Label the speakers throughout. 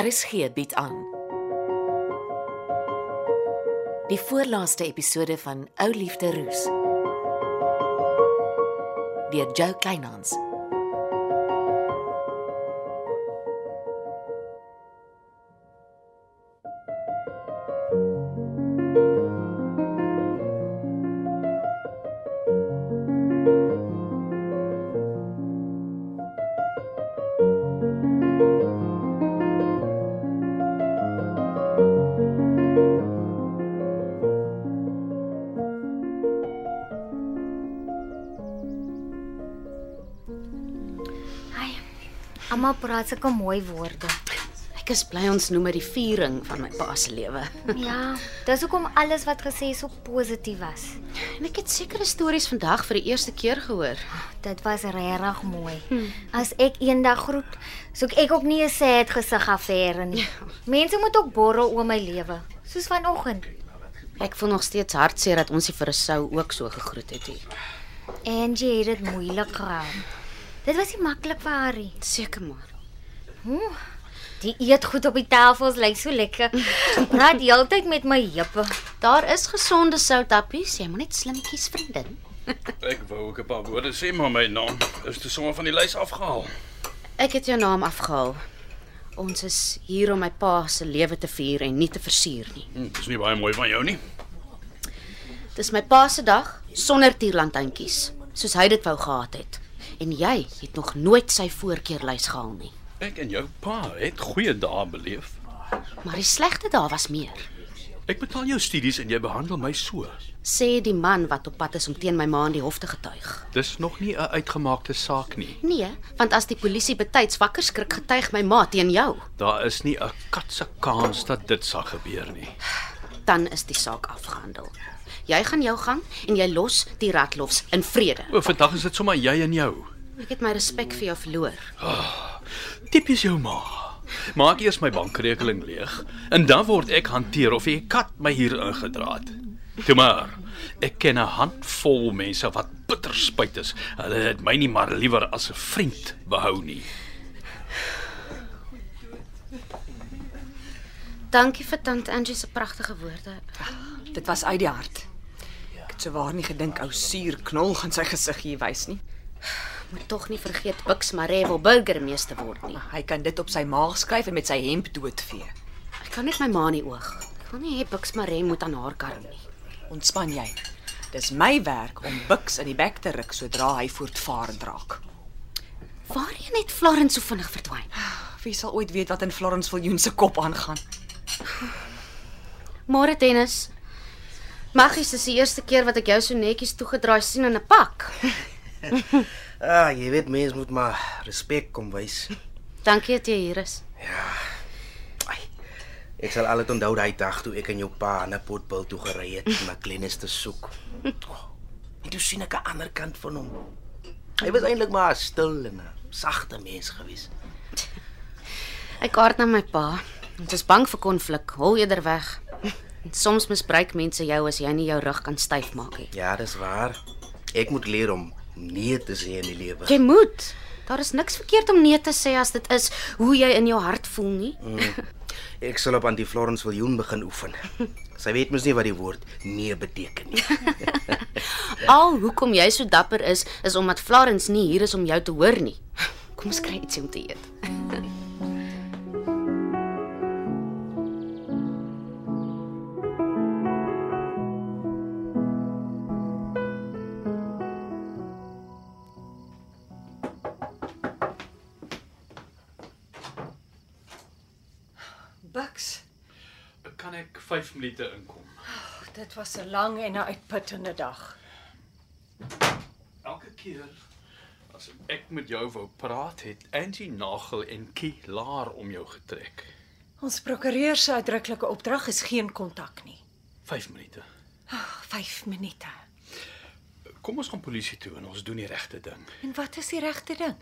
Speaker 1: RSG bied aan. Die voorlaaste episode van Ou Liefde Roos. Deur Jo Kleinhans.
Speaker 2: Ai. Almal praat sulke mooi woorde.
Speaker 3: Ek is bly ons noem dit die viering van my pa se lewe.
Speaker 2: Ja, dis hoekom alles wat gesê is so positief was.
Speaker 3: En ek het sekere stories vandag vir die eerste keer gehoor.
Speaker 2: Dit was regtig mooi. As ek eendag groet, soek ek ook nie 'n sad gesig affære nie. Mense moet ook borrel oor my lewe, soos vanoggend.
Speaker 3: Ek voel nog steeds hartseer dat ons nie vir 'n sou ook so gegroet het nie.
Speaker 2: Angie het dit moeilik gehad. Dit was nie maklik vir haar nie.
Speaker 3: Seker maar.
Speaker 2: Oeh, Die eetgoed op die tafels lyk so lekker. Sy Praat heeltyd met my heupe.
Speaker 3: Daar is gesonde soutappies, jy moet net slim kies vriendin.
Speaker 4: Ek wou ook 'n paar woorde sê, maar my naam is te sommer van die lys afgehaal.
Speaker 3: Ek het jou naam afgehaal. Ons is hier om my pa se lewe te vier en nie te versuur nie.
Speaker 4: Hm, dis nie baie mooi van jou nie.
Speaker 3: Dis my pa se dag sonder tierlantuintjies, soos hy dit wou gehad het. En jy het nog nooit sy voorkeurlys gehaal nie.
Speaker 4: Ek en jou pa het goeie dae beleef.
Speaker 3: Maar die slegte dae was meer.
Speaker 4: Ek betaal jou studies en jy behandel my so.
Speaker 3: sê die man wat op pad is om teen my ma in die hof te getuig.
Speaker 4: Dis nog nie 'n uitgemaakte saak nie.
Speaker 3: Nee, want as die polisie betyds wakker skrik getuig my ma teen jou,
Speaker 4: Daar is nie 'n katse kans dat dit sal gebeur nie.
Speaker 3: dan is die saak afgehandel. Jy gaan jou gang en jy los die ratlofs in vrede.
Speaker 4: O, vandag is dit sommer jy en jou.
Speaker 3: Ek het my respek vir jou verloor.
Speaker 4: Tipies jou ma. Maak eers my bankrekening leeg en dan word ek hanteer of jy kat my hier ingedra het. Toe maar. Ek ken 'n handvol mense wat bitter spyt is. Hulle het my nie maar liewer as 'n vriend behou nie.
Speaker 3: Dankie vir tant Angie se pragtige woorde.
Speaker 5: Dit was uit die hart. Ek het sowaar nie gedink ou suur knol gaan sy gesig hier wys nie.
Speaker 3: Moet tog nie vergeet Bux Maree wil burgemeester word nie.
Speaker 5: Hy kan dit op sy maag skryf en met sy hemp doodvee.
Speaker 3: Ek kan net my ma in die oog. Ek wil nie hê Bux Maree moet aan haar karm nie.
Speaker 5: Ontspan jy. Dis my werk om Bux in die bek te ruk sodra hy voortvarend raak.
Speaker 3: Waarheen het Florence so vinnig verdwyn?
Speaker 5: Wie sal ooit weet wat in Florence Viljoen se kop aangaan?
Speaker 3: Môre tennis. Maggies, dis die eerste keer wat ek jou so netjies toegedraai sien in 'n pak.
Speaker 6: Ah, jy weet mens moet maar respek kom wys.
Speaker 3: Dankie dat jy hier is.
Speaker 6: Ek sal altyd onthou daai dag toe ek en jou pa na Potbil toe gery het om 'n kleines te soek. Oh, en toe sien ek aan die ander kant van hom. Hy was eintlik maar 'n stil en 'n sagte mens gewees.
Speaker 3: Ek aard na my pa. Ons is bang vir konflik. Hol eerder weg. En soms misbruik mense jou as jy nie jou rug kan styf maak nie.
Speaker 6: Ja, dis waar. Ek moet leer om nee te sê in die lewe.
Speaker 3: Jy moet. Daar is niks verkeerd om nee te sê as dit is hoe jy in jou hart voel nie.
Speaker 6: Ek sal op aan die Florence Viljoen begin oefen. Sy weet mos nie wat die woord nee beteken nie.
Speaker 3: Al hoekom jy so dapper is, is omdat Florence nie hier is om jou te hoor nie. Kom ons kry ietsie om te eet.
Speaker 7: Bux,
Speaker 4: Kan ek 5 minute inkom?
Speaker 7: dit was 'n lang en 'n uitputtende dag.
Speaker 4: Elke keer as ek met jou wou praat, het Angie Nagel en Kie Laar om jou getrek.
Speaker 7: Ons prokureur se uitdruklike opdrag is geen kontak nie.
Speaker 4: 5 minute.
Speaker 7: 5 minute.
Speaker 4: Kom ons gaan polisie toe en ons doen die regte ding.
Speaker 7: En wat is die regte ding?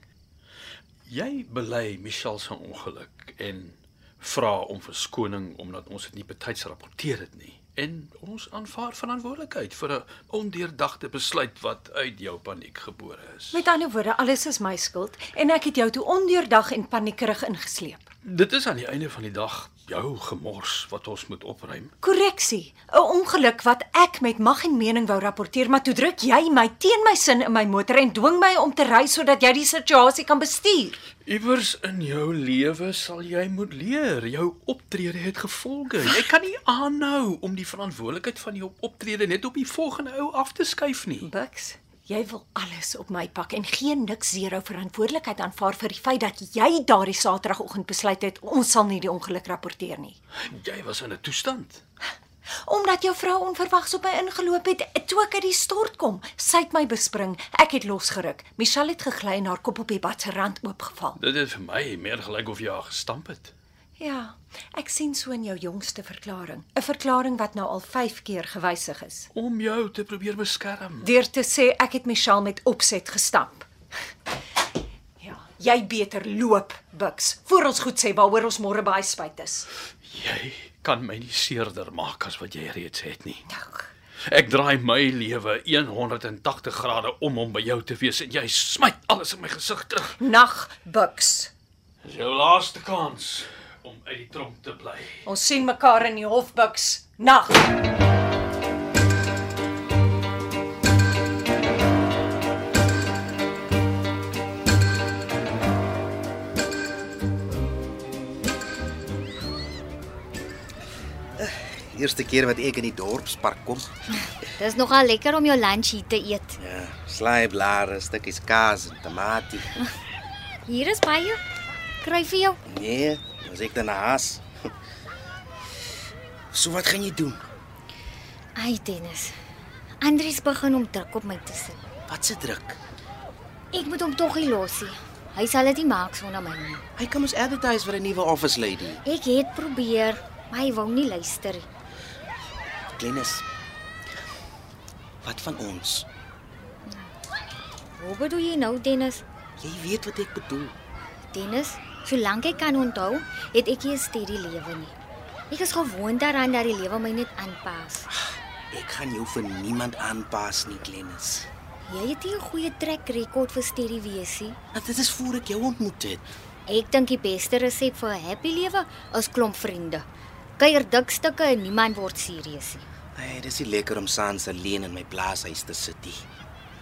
Speaker 4: Jy bely Michelle se ongeluk en vra om verskoning omdat ons dit nie betyds rapporteer het nie. En ons aanvaar verantwoordelikheid vir 'n ondeurdagte besluit wat uit jou paniek gebore is.
Speaker 7: Met ander woorde, alles is my skuld en ek het jou toe ondeurdag en paniekerig ingesleep.
Speaker 4: Dit is aan die einde van die dag jou gemors wat ons moet opruim.
Speaker 7: Korreksie, 'n ongeluk wat ek met mag en mening wou rapporteer, maar toe druk jy my teen my sin in my motor en dwing my om te ry sodat jy die situasie kan bestuur.
Speaker 4: Iewers in jou lewe sal jy moet leer. Jou optrede het gevolge. Jy kan nie aanhou om die verantwoordelikheid van jou optrede net op die volgende ou af te skuif nie.
Speaker 7: Bux, jy wil alles op my pak en geen niks zero verantwoordelikheid aanvaar vir die feit dat jy daardie Saterdagoggend besluit het ons sal nie die ongeluk rapporteer nie.
Speaker 4: Jy was in 'n toestand.
Speaker 7: Omdat jou vrou onverwags op my ingeloop het toe ek uit die stort kom. Sy het my bespring. Ek het losgeruk. Michelle het gegly en haar kop op die bad se rand oopgeval.
Speaker 4: Dit het vir my meer gelyk of jy haar gestamp het.
Speaker 7: Ja, ek sien so in jou jongste verklaring, 'n verklaring wat nou al 5 keer gewysig is.
Speaker 4: Om jou te probeer beskerm.
Speaker 7: Deur te sê ek het Michelle met opset gestamp. Ja, jy beter loop, Bux, voor ons goed sê waaroor ons môre baie spyt is.
Speaker 4: Jy kan my nie seerder maak as wat jy reeds het nie.
Speaker 7: Ag,
Speaker 4: Ek draai my lewe 180 grade om om by jou te wees en jy smyt alles in my gesig terug.
Speaker 7: Nag, Bux.
Speaker 4: Dis jou laaste kans om uit die tronk te bly.
Speaker 7: Ons sien mekaar in die hof, Bux. Nag.
Speaker 6: Eerste keer wat ek in die dorpspark kom.
Speaker 2: Dis nogal lekker om jou lunch hier te eet.
Speaker 6: Ja, slaaiblare, stukkies kaas en tamatie.
Speaker 2: Hier is baie. Kry vir jou.
Speaker 6: Nee, as ek dan haas. So wat gaan jy doen?
Speaker 2: Ai, Dennis. Andries begin om druk op my te sit.
Speaker 6: Wat se druk?
Speaker 2: Ek moet hom tog hier los nie. Hy sal dit nie maak sonder my nie.
Speaker 6: Hy kan mos advertise vir 'n nuwe office lady.
Speaker 2: Ek het probeer, maar hy wou nie luister nie.
Speaker 6: Kleines. Wat van ons?
Speaker 2: Hoe bedoel jy nou, Dennis?
Speaker 6: Jy weet wat ek bedoel.
Speaker 2: Dennis, solank ek kan onthou, het ek nie 'n steady lewe nie. Ek is gewoond daaraan dat die lewe my net aanpas.
Speaker 6: Ek gaan jou vir niemand aanpas nie, Kleines.
Speaker 2: Jy het nie 'n goeie trek rekord vir steady wees nie.
Speaker 6: Want Nou, dit is voor ek jou ontmoet het.
Speaker 2: Ek dink die beste resep vir 'n happy lewe is klomp vriende. Kuier dik stukke en niemand word serieus nie.
Speaker 6: Hey, dis nie lekker om saans alleen in my plaashuis te sit nie.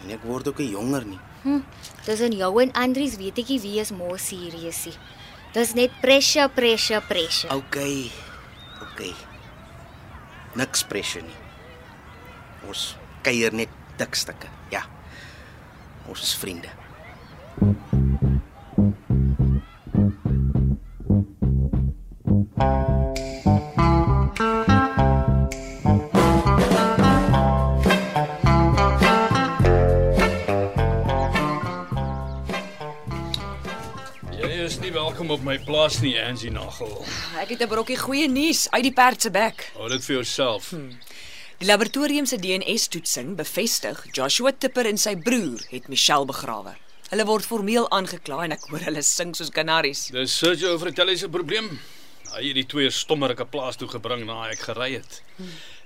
Speaker 6: En ek word ook nie jonger nie.
Speaker 2: Hm, tussen jou en Andries weet ek nie wie is more serieus nie. Dis net pressure, pressure, pressure.
Speaker 6: OK. OK. Niks pressure nie. Ons kuier net dik stukke. Ja. Ons is vriende.
Speaker 4: Jy is nie welkom op my plaas nie, Angie Nagel.
Speaker 5: Ek het 'n brokkie goeie nuus uit die perd se bek.
Speaker 4: Hou dit vir jouself.
Speaker 5: Die laboratorium se DNA-toetsing bevestig Joshua Tipper en sy broer het Michelle begrawe. Hulle word formeel aangekla en ek hoor hulle sing soos kanaries.
Speaker 4: Dis Sergio Fratelli se probleem. Hy het die twee stommerike plaas toe gebring na ek gery het.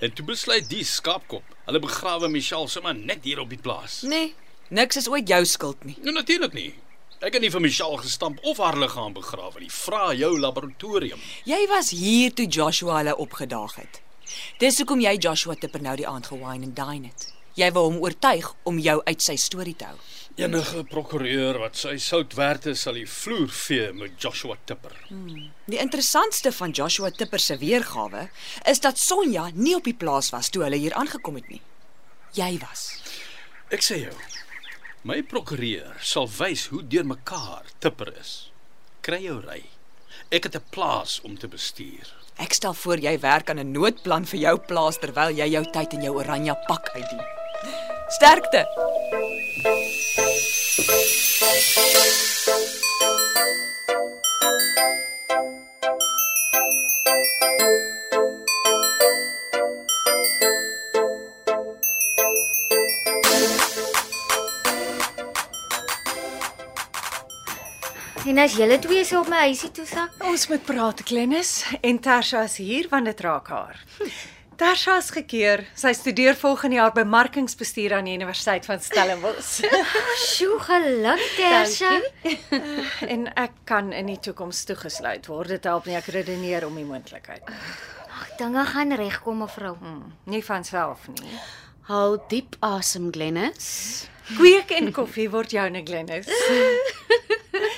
Speaker 4: En toe besluit die skaapkop, hulle begrawe Michelle sommer net hier op die plaas.
Speaker 5: Nee, niks is ooit jou skuld nie.
Speaker 4: Nee, natuurlik nie. Ek het nie vir Michelle gestamp of haar liggaam begrawe nie. Vra jou laboratorium.
Speaker 5: Jy was hier toe Joshua hulle opgedaag het. Dis hoekom jy Joshua Tipper nou die aand gewine en dine het. Jy wou hom oortuig om jou uit sy storie te hou.
Speaker 4: Enige prokureur wat sy sout werd is, sal die vloer vee met Joshua Tipper.
Speaker 5: Die interessantste van Joshua Tipper se weergawe is dat Sonja nie op die plaas was toe hulle hier aangekom het nie. Jy was.
Speaker 4: Ek sê jou, my prokureur sal wys hoe deurmekaar Tipper is. Kry jou ry. Ek het 'n plaas om te bestuur.
Speaker 5: Ek stel voor jy werk aan 'n noodplan vir jou plaas terwyl jy jou tyd in jou oranje pak uitdien. Sterkte.
Speaker 2: En as julle twee so op my huisie toe sak,
Speaker 7: Ons moet praat, Glenis en Tersha is hier want dit raak haar. Natasha is gekeer. Sy studeer volgende jaar bemarkingsbestuur aan die Universiteit van Stellenbosch.
Speaker 2: Sjoe, geluk Tersha.
Speaker 7: en ek kan in die toekoms toegesluit word. Dit help nie ek redeneer om die moontlikheid.
Speaker 2: Ag, dinge gaan regkom mevrou.
Speaker 7: Hmm, nie van self nie.
Speaker 3: Hou diep asem, Glennis.
Speaker 7: Kweek en koffie word joune Glenis.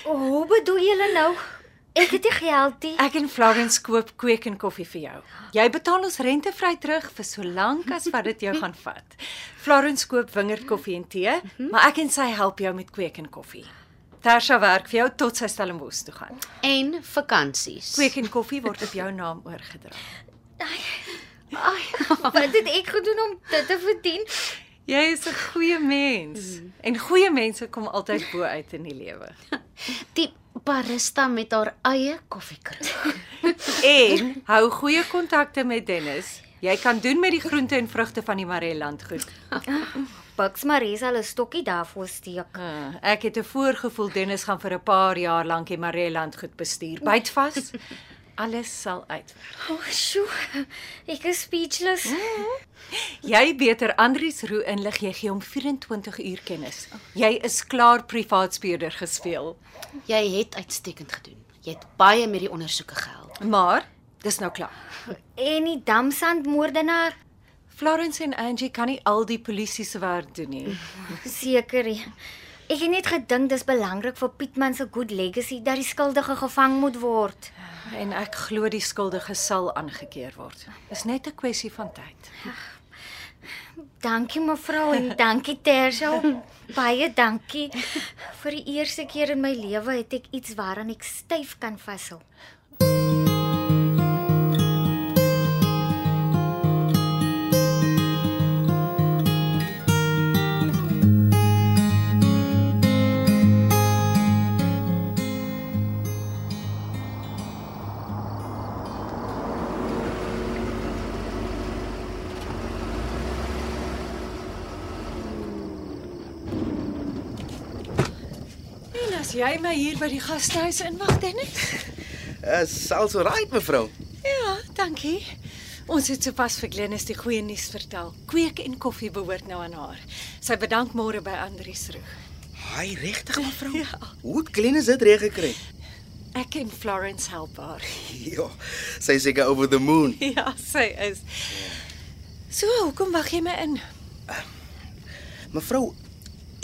Speaker 2: Hoe bedoel jy nou? Ek het nie geld nie.
Speaker 7: Ek en Florence koop kweek en koffie vir jou. Jy betaal ons rentevry terug vir so lank as wat dit jou gaan vat. Florence koop wingerd koffie en tee, maar ek en sy help jou met kweek en koffie. Tersha werk vir jou tot sy Stellenbosch toe gaan.
Speaker 3: En vakansies.
Speaker 7: Kweek en koffie word op jou naam oorgedra.
Speaker 2: Ai, wat het ek gedoen om dit te verdien?
Speaker 7: Jy is 'n goeie mens en goeie mense kom altyd bo uit in die lewe.
Speaker 3: Die barista met haar eie koffiekruk.
Speaker 7: En hou goeie kontakte met Dennis. Jy kan doen met die groente en vrugte van die Mareland goed.
Speaker 2: Bucks Marie sal 'n stokkie daarvoor steek.
Speaker 7: Uh, ek het 'n voorgevoel Dennis gaan vir 'n paar jaar lank die Mareland goed bestuur. Byt vas. Alles sal uit.
Speaker 2: O, oh, sjoe. Ek is speechless.
Speaker 7: Jy beter Andries Roo inlig jy gee hom 24 uur kennis. Jy is klaar privaat speurder gespeel.
Speaker 3: Jy het uitstekend gedoen. Jy het baie met die ondersoeke gehelp.
Speaker 7: Maar dis nou klaar.
Speaker 2: En die damsandmoordenaar?
Speaker 7: Florence en Angie kan nie al die polisie se werk doen nie.
Speaker 2: Seker. ja. Ek het net gedink dis belangrik vir Pietman se good legacy dat die skuldige gevang moet word.
Speaker 7: En ek glo die skuldige sal aangekeer word. Is net 'n kwessie van tyd.
Speaker 2: Dankie mevrou en dankie Tersha. Baie dankie. Vir die eerste keer in my lewe het ek iets waaraan ek styf kan vashou.
Speaker 7: En as jy my hier by die gastehuis inwag, Dennis?
Speaker 6: Is also right mevrou.
Speaker 7: Ja, dankie. Ons het sopas vir Glenis die goeie nuus vertel. Kweek en koffie behoort nou aan haar. Sy bedank môre by Andries Roo.
Speaker 6: Haai regtig mevrou. Ja. Hoe het Glenis dit reg gekry?
Speaker 7: Ek en Florence help haar.
Speaker 6: Ja, sy is seker over the moon.
Speaker 7: Ja, sy is. So, hoekom wag jy my in?
Speaker 6: Mevrou,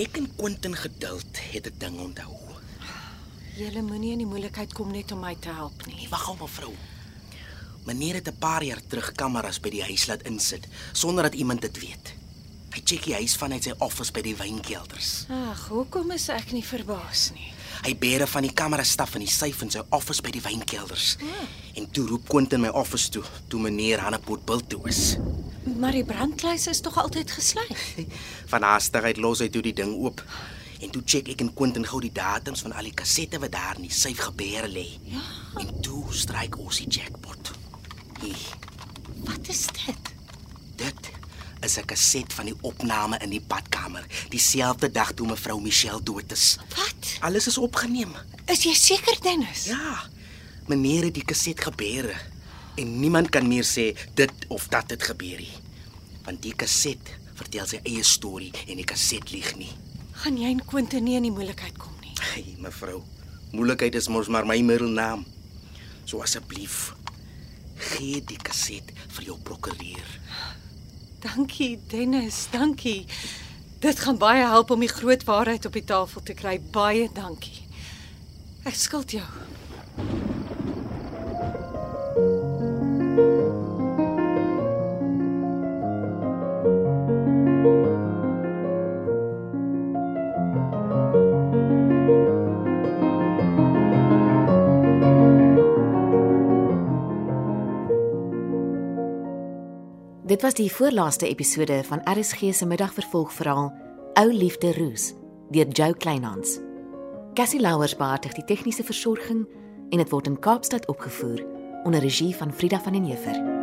Speaker 6: ek en Quentin geduld het 'n ding onthou.
Speaker 7: Jy moenie in die moeilikheid kom net om my te help nie.
Speaker 6: Nee, wag hom mevrou. Meneer het 'n paar jaar terug kameras by die huis laat insit sonder dat iemand dit weet. Hy check die huis vanuit sy office by die wynkelders.
Speaker 7: Ag, hoekom is ek nie verbaas nie?
Speaker 6: Hy beere van die kamerastaf in die syf in sy office by die wynkelders. En toe roep Quentin my office toe, toe meneer Hannepot bil toe is.
Speaker 7: Maar die brandkluis is tog altyd gesluit.
Speaker 6: Van haastigheid los hy toe die ding oop. En toe check ek en Quentin gou die datums van al die kassette wat daar in die syf gebeere lê. Ja. En toe stryk ons die jackpot. Hier,
Speaker 7: Wat is dit?
Speaker 6: dit is 'n kaset van die opname in die badkamer, dieselfde dag toe mevrou Michelle dood is.
Speaker 7: Wat?
Speaker 6: Alles is opgeneem.
Speaker 7: Is jy seker, Dennis?
Speaker 6: Ja. Meneer het die kaset gebeere en niemand kan meer sê dit of dat dit gebeur nie. Want die kaset vertel sy eie storie en die kaset lieg nie.
Speaker 7: Gaan jy en Quentin nie in die moeilikheid kom nie.
Speaker 6: Hey, mevrou. Moeilikheid is mos maar my middelnaam. So asseblief gee die kaset vir jou prokureur.
Speaker 7: Dankie, Dennis, dankie. Dit gaan baie help om die groot waarheid op die tafel te kry. Baie dankie. Ek skuld jou.
Speaker 1: Dit was die voorlaaste episode van RSG se middagvervolgverhaal Ou liefde Roos deur Jo Kleinhans. Cassie Louwers beheer die tegniese versorging en dit word in Kaapstad opgevoer onder regie van Frida van den Heever.